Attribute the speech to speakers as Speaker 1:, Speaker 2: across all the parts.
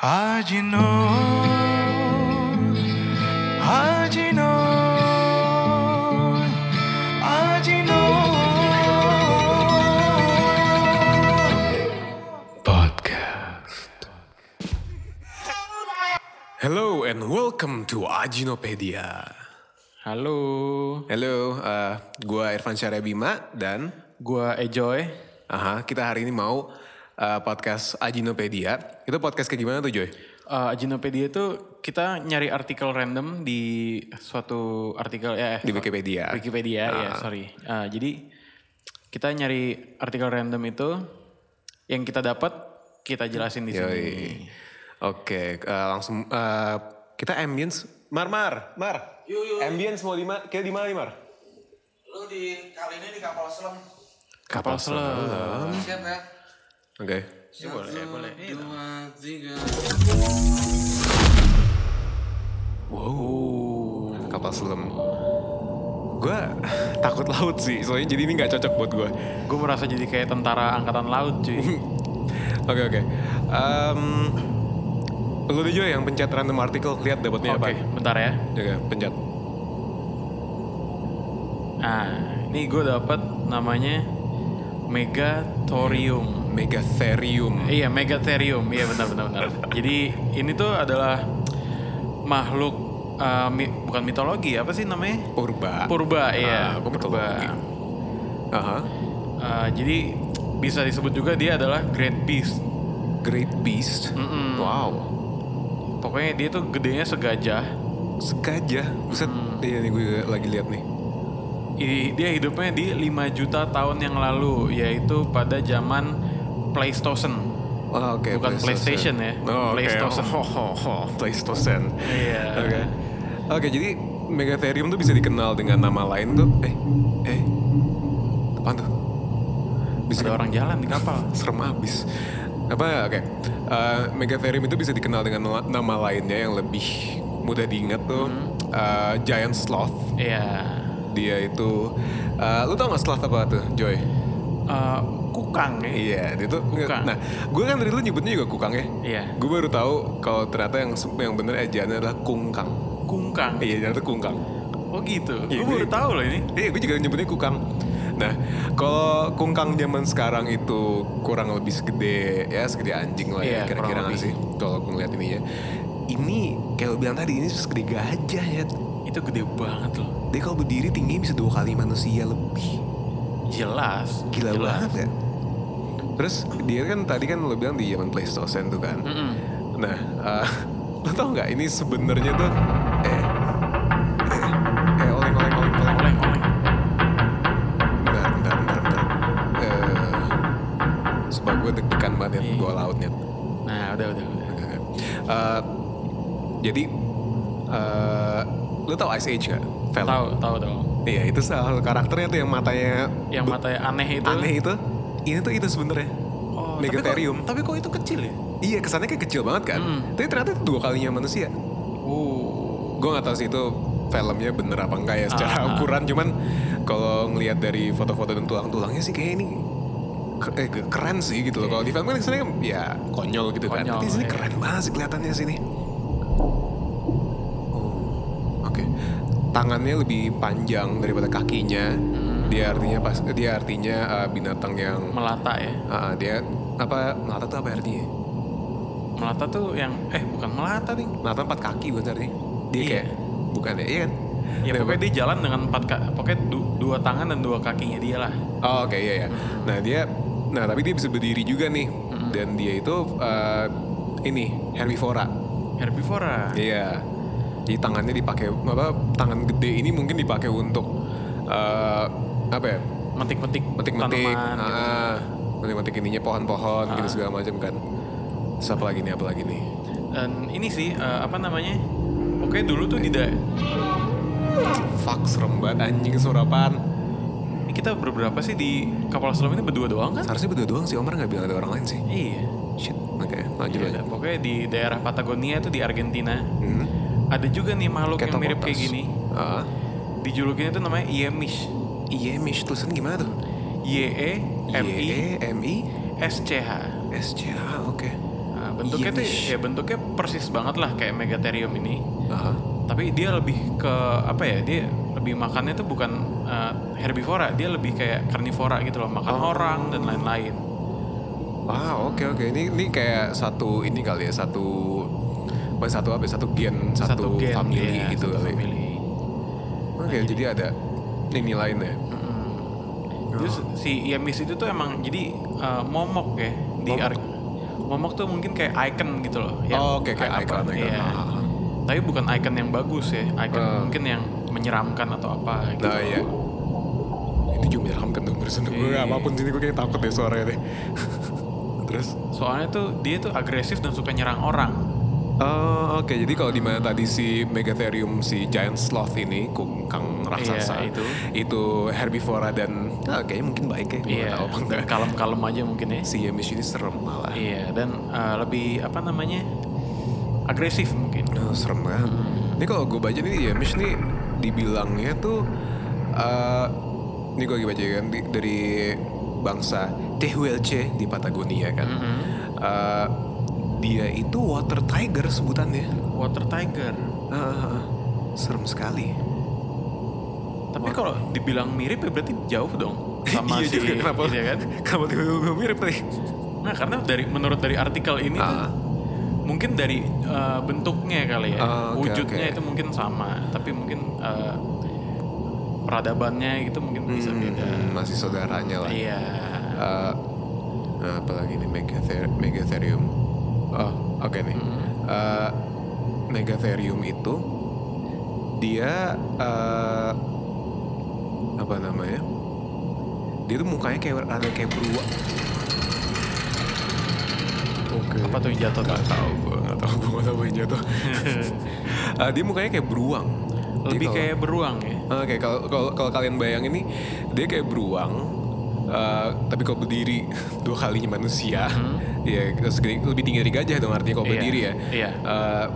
Speaker 1: 味の味の味の
Speaker 2: Podcast.
Speaker 3: Hello and welcome to Ajinopedia.
Speaker 2: Halo,
Speaker 3: Halo, eh, gua Irfan Syarya Bima dan
Speaker 2: gua Ejoy.
Speaker 3: aha, kita hari ini mau eh, podcast Ajinopedia. Itu podcast kayak gimana tuh Joy?
Speaker 2: Uh, Ajinopedia itu kita nyari artikel random di suatu artikel ya eh,
Speaker 3: Di Wikipedia. Ah.
Speaker 2: Wikipedia ya, sorry. Uh, jadi kita nyari artikel random itu yang kita dapat kita jelasin di sini.
Speaker 3: Yoi. Oke, eh, langsung eh, kita ambience. Mar, Mar, Mar. Ambience mau di ma- Kita di mana nih Mar?
Speaker 4: Lu di kali ini di kapal selam
Speaker 2: Kapal selam.
Speaker 4: siap ya?
Speaker 3: Oke.
Speaker 4: boleh, boleh. Dua, tiga.
Speaker 3: Wow, Kan kapal selam. Gua takut laut sih, soalnya jadi ini nggak cocok buat gua.
Speaker 2: Gue merasa jadi kayak tentara angkatan laut cuy.
Speaker 3: Oke oke. Em, lu deh Joy yang pencet random artikel, lihat dapatnya
Speaker 2: Oke,
Speaker 3: apa.
Speaker 2: bentar ya.
Speaker 3: Jaga pencet.
Speaker 2: Nah, ini gue dapat namanya Megathorium.
Speaker 3: Megatherium.
Speaker 2: Iya, Megatherium. Iya, benar benar benar. Jadi ini tuh adalah makhluk eh, mi- bukan mitologi, apa sih namanya?
Speaker 3: Purba.
Speaker 2: Purba, iya.
Speaker 3: Ah, gua
Speaker 2: purba.
Speaker 3: mitologi. Aha.
Speaker 2: Eh, jadi bisa disebut juga dia adalah great beast.
Speaker 3: Great Beast. Wow.
Speaker 2: Pokoknya dia tuh gedenya segajah.
Speaker 3: Segajah. Buset. Iya nih gue lagi lihat nih.
Speaker 2: I- Dia hidupnya di 5 juta tahun yang lalu, yaitu pada zaman PlayStation.
Speaker 3: Ah, oke.
Speaker 2: Bukan PlayStation ya,
Speaker 3: Oh, oke.
Speaker 2: PlayStation.
Speaker 3: Ho, ho, ho, PlayStation.
Speaker 2: Iya.
Speaker 3: Oke. Oke, jadi Megatherium tuh bisa dikenal dengan nama lain tuh. Eh, eh. Apaan tuh? Bisa
Speaker 2: Ada orang jalan di kapal.
Speaker 3: Serem abis. Apa oke. Eh, Megatherium itu bisa dikenal dengan la- nama lainnya yang lebih mudah diingat tuh eh, Giant Sloth.
Speaker 2: Iya.
Speaker 3: Dia itu eh, lu tau gak sloth apa tuh, Joy?
Speaker 2: Eh, kukang ya.
Speaker 3: Iya, dia tuh
Speaker 2: Kukang.
Speaker 3: Nah, gue kan dari dulu nyebutnya juga kukang ya.
Speaker 2: Iya.
Speaker 3: Gue baru tahu kalau ternyata yang se- yang bener ejaannya adalah kungkang.
Speaker 2: Kungkang.
Speaker 3: Iya, ternyata kungkang.
Speaker 2: Oh gitu.
Speaker 3: Iya,
Speaker 2: Gue
Speaker 3: gue-
Speaker 2: baru tahu loh ini.
Speaker 3: Iya, gue juga nyebutnya kukang. Nah, kalau kungkang zaman sekarang itu kurang lebih segede ya segede anjing lah ya
Speaker 2: Iya,
Speaker 3: kira-kira
Speaker 2: kurang
Speaker 3: nggak sih.
Speaker 2: lebih.
Speaker 3: Kalau gue ngeliat ininya, ini kayak lo bilang tadi ini segede gajah ya.
Speaker 2: Itu gede banget loh.
Speaker 3: Dia kalau berdiri tingginya bisa dua kali manusia lebih.
Speaker 2: Jelas.
Speaker 3: Gila
Speaker 2: jelas.
Speaker 3: banget ya. Terus dia kan tadi kan lo bilang di zaman Playstocene tuh kan.
Speaker 2: Mm-mm.
Speaker 3: Nah, eh, lo tau nggak ini sebenarnya tuh eh eh eh oleng oleng oleng oleng
Speaker 2: Oleng, oleng.
Speaker 3: bentar bentar bentar bentar. Eh, sebab gue deg-degan banget
Speaker 2: Iya.
Speaker 3: ya, gue lautnya.
Speaker 2: Nah udah udah udah.
Speaker 3: Eh, jadi eh lo tau Ice Age nggak? Film.
Speaker 2: Tahu tahu tahu.
Speaker 3: Iya itu salah satu karakternya tuh yang matanya
Speaker 2: Yang matanya aneh itu.
Speaker 3: aneh itu. Ini tuh itu sebenarnya.
Speaker 2: Oh, tapi kok-
Speaker 3: Megatherium.
Speaker 2: Tapi kok, itu kecil ya?
Speaker 3: Iya kesannya kayak kecil banget kan.
Speaker 2: Mm.
Speaker 3: Tapi ternyata itu dua kalinya manusia.
Speaker 2: Oh.
Speaker 3: Gue gak tahu sih itu filmnya bener apa enggak ya secara
Speaker 2: Ah.
Speaker 3: ukuran. Cuman kalau ngelihat dari foto-foto dan tulang-tulangnya sih kayak ini ke- eh, ke- keren sih gitu loh. Kalau di film kan sebenarnya ya konyol gitu kan.
Speaker 2: Iya. Konyol,
Speaker 3: Tapi di sini
Speaker 2: iya.
Speaker 3: keren banget sih kelihatannya sini. Oh, Oke. Tangannya lebih panjang daripada kakinya.
Speaker 2: Hmm.
Speaker 3: Dia artinya pas dia artinya eh, binatang yang
Speaker 2: Melata ya.
Speaker 3: ah, dia apa melata tuh apa artinya?
Speaker 2: Melata tuh yang eh bukan melata nih.
Speaker 3: Melata empat kaki bukan sih artinya? Dia
Speaker 2: Iya.
Speaker 3: kayak bukan ya, iya kan?
Speaker 2: Ya
Speaker 3: Nah,
Speaker 2: pokoknya dia jalan dengan empat ka- pokoknya du- dua tangan dan dua kakinya dia lah.
Speaker 3: Oh, oke iya ya. Nah dia, nah tapi dia bisa berdiri juga nih. Dan dia itu eh, ini herbivora.
Speaker 2: Herbivora.
Speaker 3: Iya. Jadi tangannya dipakai apa? Tangan gede ini mungkin dipakai untuk eh, apa ya?
Speaker 2: Metik-metik
Speaker 3: Metik-metik,
Speaker 2: tanaman. gitu. Ah.
Speaker 3: ah, metik-metik ininya pohon-pohon gitu segala macam kan. Terus apa lagi nih? Apa lagi nih?
Speaker 2: Dan ini sih eh, apa namanya? Pokoknya dulu tuh di da-
Speaker 3: Fuck serem banget anjing suara apaan?
Speaker 2: Ini kita berberapa sih di kapal selam ini berdua doang kan?
Speaker 3: Seharusnya berdua doang sih Omar nggak bilang ada orang lain sih.
Speaker 2: Iya.
Speaker 3: Shit. Oke, lanjut
Speaker 2: Iya,
Speaker 3: lanjut.
Speaker 2: Pokoknya di daerah Patagonia itu di Argentina.
Speaker 3: Hmm.
Speaker 2: Ada juga nih makhluk yang mirip kayak
Speaker 3: Ketokotas.
Speaker 2: gini.
Speaker 3: Ah.
Speaker 2: Dijulukin itu namanya Yemish.
Speaker 3: Iya, Mish tulisan gimana tuh?
Speaker 2: Y E M I
Speaker 3: M I
Speaker 2: S C H.
Speaker 3: S C A oke.
Speaker 2: Nah, bentuknya tuh ya bentuknya persis banget lah kayak megatherium ini.
Speaker 3: Aha.
Speaker 2: Tapi dia lebih ke apa ya? Dia lebih makannya tuh bukan eh, herbivora, dia lebih kayak karnivora gitu loh, makan
Speaker 3: Oh.
Speaker 2: orang dan lain-lain.
Speaker 3: Wow, Ah, oke oke. Ini ini kayak satu ini kali ya, satu bukan satu apa ya, satu gen, satu,
Speaker 2: gen,
Speaker 3: family
Speaker 2: iya,
Speaker 3: gitu
Speaker 2: satu
Speaker 3: kali.
Speaker 2: family.
Speaker 3: Oke, jadi ada ini lainnya.
Speaker 2: Terus si Yamis itu tuh emang jadi eh, momok ya di momok. momok tuh mungkin kayak icon gitu loh. yang
Speaker 3: Oh, oke, kayak
Speaker 2: apa,
Speaker 3: icon, icon.
Speaker 2: iya.
Speaker 3: Ah, ah, ah.
Speaker 2: Tapi bukan icon yang bagus ya, icon mungkin yang menyeramkan atau apa gitu.
Speaker 3: Nah, iya. Ini juga menyeramkan tuh terus gue
Speaker 2: Iya.
Speaker 3: apapun sini gue kayak takut deh suaranya deh. terus
Speaker 2: Soalnya tuh dia tuh agresif dan suka nyerang orang.
Speaker 3: Oh, oke. Jadi kalau di mana tadi si Megatherium si Giant Sloth ini kungkang raksasa
Speaker 2: Iya, itu.
Speaker 3: itu herbivora dan ah, kayaknya mungkin baik ya.
Speaker 2: Iya.
Speaker 3: Gue nggak tahu apa enggak.
Speaker 2: Kalem-kalem aja mungkin ya.
Speaker 3: Si Yamish ini serem malah.
Speaker 2: Iya, dan eh, lebih apa namanya? agresif mungkin.
Speaker 3: Aduh, serem banget. Ini kalau gue baca nih Yamish nih dibilangnya tuh eh ini gue lagi baca kan di- dari bangsa Tehuelche di Patagonia kan. Eh, dia itu water tiger sebutannya.
Speaker 2: Water tiger.
Speaker 3: Ah, ah, ah. serem sekali.
Speaker 2: Tapi kalau dibilang mirip ya berarti jauh dong sama
Speaker 3: iya
Speaker 2: si
Speaker 3: juga kenapa
Speaker 2: iya kan?
Speaker 3: kenapa tiba-tiba gue mirip nih
Speaker 2: Nah, karena dari menurut dari artikel ini tuh,
Speaker 3: Oh. Ah.
Speaker 2: mungkin dari eh, bentuknya kali ya,
Speaker 3: Ah, oke,
Speaker 2: wujudnya
Speaker 3: oke.
Speaker 2: itu mungkin sama, tapi mungkin eh, peradabannya gitu mungkin bisa beda.
Speaker 3: Hmm, masih saudaranya lah
Speaker 2: Iya.
Speaker 3: Eh, nah, apalagi nih Megather- Megatherium oh oke nih
Speaker 2: Hmm.
Speaker 3: Eh, Megatherium itu dia eh, apa namanya dia tuh mukanya kayak ada kayak beruang Oke.
Speaker 2: Apa tuh yang jatuh tuh?
Speaker 3: Gak tau gue, gak tau gue, gak tau yang jatuh Eh, Dia mukanya kayak beruang Dia
Speaker 2: Lebih
Speaker 3: kalau-
Speaker 2: kayak beruang ya.
Speaker 3: Oke, kalau kalau kalau kalian bayang ini dia kayak beruang, eh, tapi kalau berdiri dua kalinya manusia, ya segede- lebih tinggi dari gajah dong artinya kalau
Speaker 2: Hmm. Iya,
Speaker 3: berdiri ya.
Speaker 2: iya.
Speaker 3: Eh,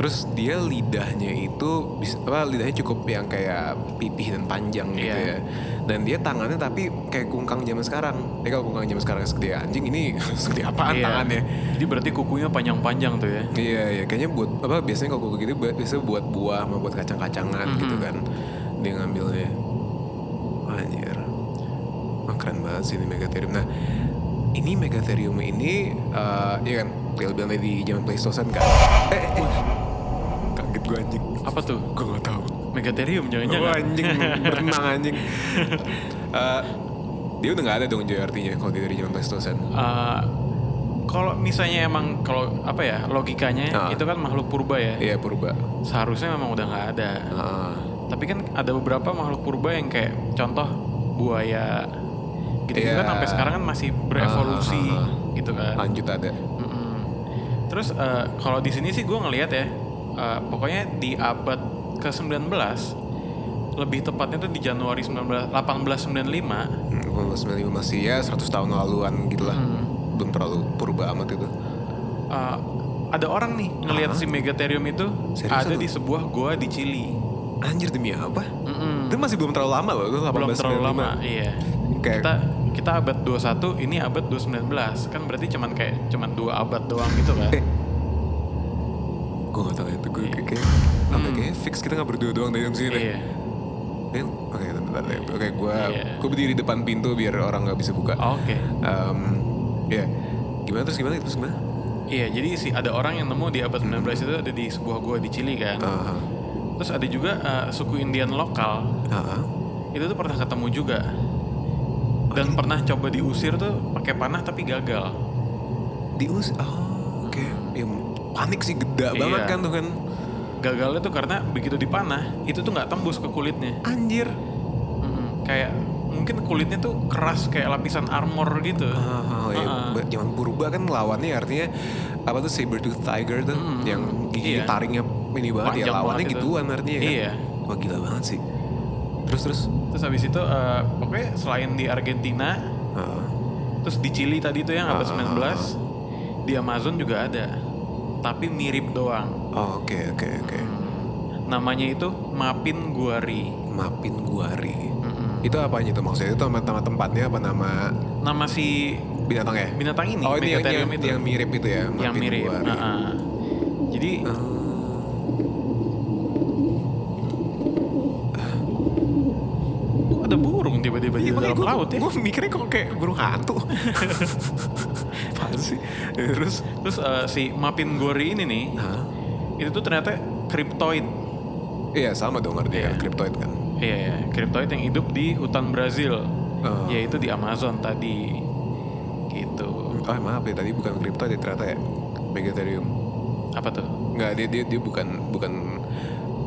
Speaker 3: terus dia lidahnya itu bisa, apa, lidahnya cukup yang kayak pipih dan panjang gitu
Speaker 2: Iya.
Speaker 3: ya. Dan dia tangannya tapi kayak kungkang zaman sekarang. Ya kalau kungkang zaman sekarang segede anjing ini segede apaan
Speaker 2: Iya.
Speaker 3: tangannya?
Speaker 2: Jadi berarti kukunya panjang-panjang tuh ya.
Speaker 3: Iya, iya. Kayaknya buat apa? Biasanya kalau kayak gitu buat- biasanya buat buah sama buat kacang-kacangan gitu kan. Dia ngambilnya. Anjir. Wah, keren banget sih ini Megatherium. Nah, ini Megatherium ini eh ya kan dia bilang di zaman Pleistosen kan. Eh, eh, eh. kaget gue anjing.
Speaker 2: Apa tuh?
Speaker 3: Gue gak tahu.
Speaker 2: Megatherium
Speaker 3: Wah,
Speaker 2: jangan-jangan.
Speaker 3: anjing berenang anjing. Eh, dia udah gak ada dong Joy artinya kalau dia dari zaman Pleistosen.
Speaker 2: Eh, kalau misalnya emang kalau apa ya logikanya
Speaker 3: Ah.
Speaker 2: itu kan makhluk purba ya.
Speaker 3: Iya, purba.
Speaker 2: Seharusnya memang udah nggak ada.
Speaker 3: Ah.
Speaker 2: Tapi kan ada beberapa makhluk purba yang kayak contoh buaya gitu gitu
Speaker 3: Iya.
Speaker 2: kan sampai sekarang kan masih berevolusi
Speaker 3: Ah, ah,
Speaker 2: gitu kan.
Speaker 3: lanjut ada.
Speaker 2: Mm-mm. Terus eh, kalau di sini sih gue ngelihat ya, eh, pokoknya di abad ke-19 lebih tepatnya tuh di Januari 19, 1895
Speaker 3: Hmm, 1995 masih ya 100 tahun laluan gitu lah
Speaker 2: Hmm.
Speaker 3: belum terlalu purba amat itu
Speaker 2: eh, ada orang nih ngelihat si Megatherium itu
Speaker 3: Ah, Serius
Speaker 2: ada
Speaker 3: lu?
Speaker 2: di sebuah goa di Chili.
Speaker 3: anjir demi apa?
Speaker 2: Mm-mm.
Speaker 3: itu masih belum terlalu lama loh itu 1895
Speaker 2: Hmm. Belum terlalu lama, iya.
Speaker 3: kayak
Speaker 2: Kita kita abad 21, ini abad 219. Kan berarti cuman kayak cuman dua abad doang gitu kan.
Speaker 3: Eh. gue gak tau ya, itu gue kayak kayak apa kayak fix kita gak berdua doang dari dalam sini deh
Speaker 2: Hmm. Iya.
Speaker 3: Rin, oke bentar, bentar, bentar. oke gue
Speaker 2: Iya.
Speaker 3: gue berdiri depan pintu biar orang gak bisa buka
Speaker 2: Oke.
Speaker 3: Em, ya gimana terus gimana terus gimana
Speaker 2: Iya, jadi si ada orang yang nemu di abad 19 itu ada di sebuah gua di Chili kan.
Speaker 3: Aha,
Speaker 2: Terus ada juga eh, suku Indian lokal.
Speaker 3: aha.
Speaker 2: Itu tuh pernah ketemu juga. Dan pernah coba diusir tuh pakai panah tapi gagal.
Speaker 3: dius oh oke Ya, panik sih geda banget
Speaker 2: Iya.
Speaker 3: kan tuh kan
Speaker 2: Gagalnya tuh karena begitu dipanah, itu tuh nggak tembus ke kulitnya.
Speaker 3: Anjir.
Speaker 2: Mm-mm. Kayak mungkin kulitnya tuh keras kayak lapisan armor gitu.
Speaker 3: Oh, iya.
Speaker 2: ah.
Speaker 3: Ba- Zaman purba kan lawannya artinya apa tuh saber tooth tiger tuh yang gigi
Speaker 2: Iya.
Speaker 3: taringnya ini banget ya
Speaker 2: Panjang
Speaker 3: lawannya
Speaker 2: banget itu.
Speaker 3: gituan artinya kan.
Speaker 2: Iya.
Speaker 3: Wah gila banget sih. Terus terus.
Speaker 2: Terus habis itu eh, pokoknya selain di Argentina,
Speaker 3: Ah.
Speaker 2: terus di Chili tadi tuh yang abad 19, di Amazon juga ada. Tapi mirip doang.
Speaker 3: Oh, Oke oke oke.
Speaker 2: Namanya itu Mapin Guari.
Speaker 3: Mapin guari. Itu apanya tuh maksudnya? Itu nama, nama tempatnya apa nama?
Speaker 2: Nama si
Speaker 3: binatang ya?
Speaker 2: Binatang ini,
Speaker 3: Oh ini yang,
Speaker 2: Megatherium
Speaker 3: yang-
Speaker 2: itu.
Speaker 3: yang mirip itu ya? Ah.
Speaker 2: yang
Speaker 3: makin
Speaker 2: mirip. ah,
Speaker 3: luar.
Speaker 2: Heeh. Jadi kok ada burung tiba-tiba di
Speaker 3: Iya, makanya
Speaker 2: dalam
Speaker 3: gue,
Speaker 2: laut ya.
Speaker 3: gue mikirnya kok kayak burung hantu. Apaan sih? Ya, Terus,
Speaker 2: Terus eh, si Mapin Gori ini nih,
Speaker 3: Hah?
Speaker 2: itu tuh ternyata kriptoid.
Speaker 3: iya sama dong artinya
Speaker 2: Iya.
Speaker 3: kriptoid kan.
Speaker 2: Iya, iya, kriptoid yang hidup di hutan Brazil.
Speaker 3: Oh.
Speaker 2: Yaitu di Amazon tadi. Gitu.
Speaker 3: Oh maaf ya tadi bukan kriptoid ya ternyata ya. Megatherium.
Speaker 2: Apa tuh?
Speaker 3: Enggak, dia, dia, dia bukan bukan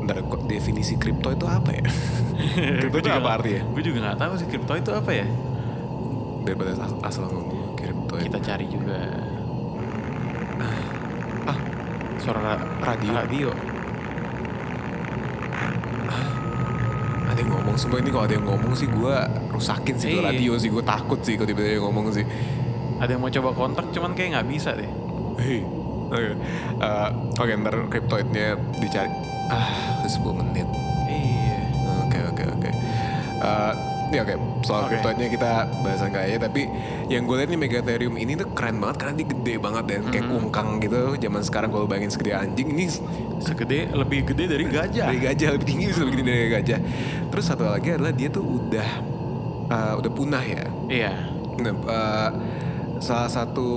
Speaker 3: Ntar kok definisi kripto itu apa ya? kripto itu apa ya? artinya?
Speaker 2: Gue juga nggak tahu sih kriptoid itu apa ya.
Speaker 3: Daripada asal, asal ngomong ya. kriptoid.
Speaker 2: Kita cari juga.
Speaker 3: Ah,
Speaker 2: Suara ra-
Speaker 3: Radio.
Speaker 2: radio.
Speaker 3: ada yang ngomong semua ini kalau ada yang ngomong sih gue rusakin sih tuh
Speaker 2: Iya.
Speaker 3: radio sih gue takut sih kalau tiba-tiba ada yang ngomong sih.
Speaker 2: Ada yang mau coba kontak cuman kayak nggak bisa deh.
Speaker 3: Hei, oke, Eh, oke ntar kriptoidnya dicari. Ah, 10 menit.
Speaker 2: Iya.
Speaker 3: Oke oke oke. Eh, ya oke soal
Speaker 2: Oke.
Speaker 3: kriptoidnya kita bahasan kayaknya tapi yang gue lihat nih Megatherium ini tuh keren banget karena dia gede banget dan kayak
Speaker 2: Mm-hmm.
Speaker 3: kungkang gitu zaman sekarang kalau bayangin segede anjing ini
Speaker 2: Segede lebih gede dari gajah.
Speaker 3: dari gajah lebih tinggi bisa lebih gede dari gajah terus satu lagi adalah dia tuh udah eh, udah punah ya
Speaker 2: Iya.
Speaker 3: Nah, eh, salah satu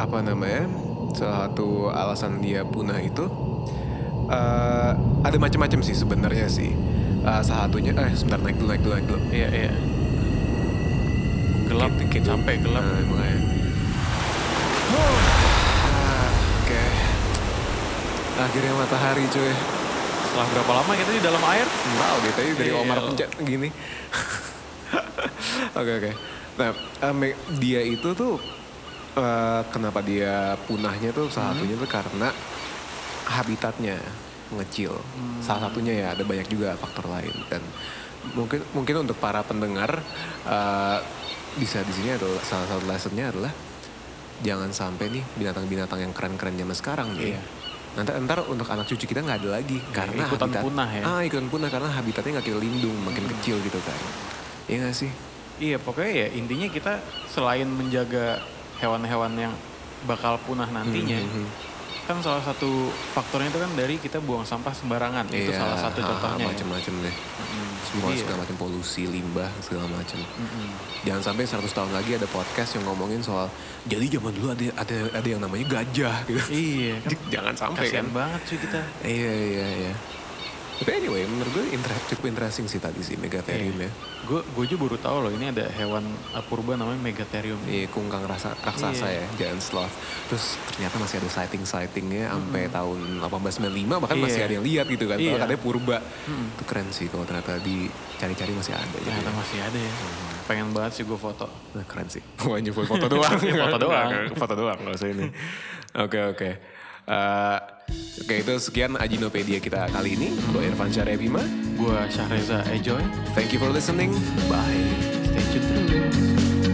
Speaker 3: apa namanya? Salah satu alasan dia punah itu eh, ada macam-macam sih sebenarnya sih. Eh, salah satunya eh sebentar naik dulu naik dulu naik dulu.
Speaker 2: Iya, iya. Gelap sampai gelap.
Speaker 3: Nah, makanya. Huh. Ah, Oke. Akhirnya matahari cuy.
Speaker 2: Setelah berapa lama kita di dalam air?
Speaker 3: Wow, deh tadi dari
Speaker 2: Iya.
Speaker 3: Omar pencet gini. Oke oke. Nah, eh, me- dia itu tuh eh, kenapa dia punahnya tuh salah
Speaker 2: Hmm.
Speaker 3: satunya tuh karena habitatnya mengecil.
Speaker 2: Hmm.
Speaker 3: Salah satunya ya ada banyak juga faktor lain dan mungkin mungkin untuk para pendengar eh, bisa di sini adalah salah satu lessonnya adalah jangan sampai nih binatang-binatang yang keren-keren zaman sekarang nih.
Speaker 2: Iya.
Speaker 3: Nanti ntar untuk anak cucu kita nggak ada lagi karena
Speaker 2: ikutan punah ya. Hmm.
Speaker 3: Ah ikutan punah karena habitatnya nggak lindung makin kecil gitu kan. Iya nggak sih?
Speaker 2: Iya, pokoknya ya intinya kita selain menjaga hewan-hewan yang bakal punah nantinya,
Speaker 3: Hmm,
Speaker 2: kan salah satu faktornya itu kan dari kita buang sampah sembarangan. itu
Speaker 3: Iya,
Speaker 2: salah satu
Speaker 3: ah,
Speaker 2: contohnya. ya.
Speaker 3: Macem-macem deh. Semua
Speaker 2: Jadi ya. Hmm.
Speaker 3: segala macam polusi, limbah segala macam. Jangan sampai 100 tahun lagi ada podcast yang ngomongin soal jadi zaman dulu ada ada ada yang namanya gajah gitu.
Speaker 2: Iya, kan
Speaker 3: Jangan sampai
Speaker 2: kasihan
Speaker 3: kan.
Speaker 2: banget sih kita.
Speaker 3: Iya iya iya. Tapi anyway, menurut gue inter- cukup interesting sih tadi sih Megatherium
Speaker 2: Iya.
Speaker 3: ya.
Speaker 2: Gue gue juga baru tahu loh ini ada hewan uh, purba namanya megatherium.
Speaker 3: Iya, kungkang rasa, raksasa
Speaker 2: Iya.
Speaker 3: ya, Giant Sloth. Terus ternyata masih ada sighting-sightingnya sampai tahun 1895 bahkan
Speaker 2: Iya.
Speaker 3: masih ada yang lihat gitu kan. Padahal
Speaker 2: Iya.
Speaker 3: katanya purba. Itu keren sih kalau ternyata dicari-cari masih ada. gitu
Speaker 2: Ternyata
Speaker 3: ya.
Speaker 2: masih ada ya. Pengen banget sih gue foto.
Speaker 3: Nah, keren sih. Wah, nyebut foto doang.
Speaker 2: Iya, foto doang.
Speaker 3: foto doang nggak usah ini. Oke, oke. Eh, oke, itu sekian Ajinopedia kita kali ini. Gue Irfan Syarya Bima.
Speaker 2: Gue Syahreza Ejoy.
Speaker 3: Thank you for listening. Bye.
Speaker 2: Stay tuned terus.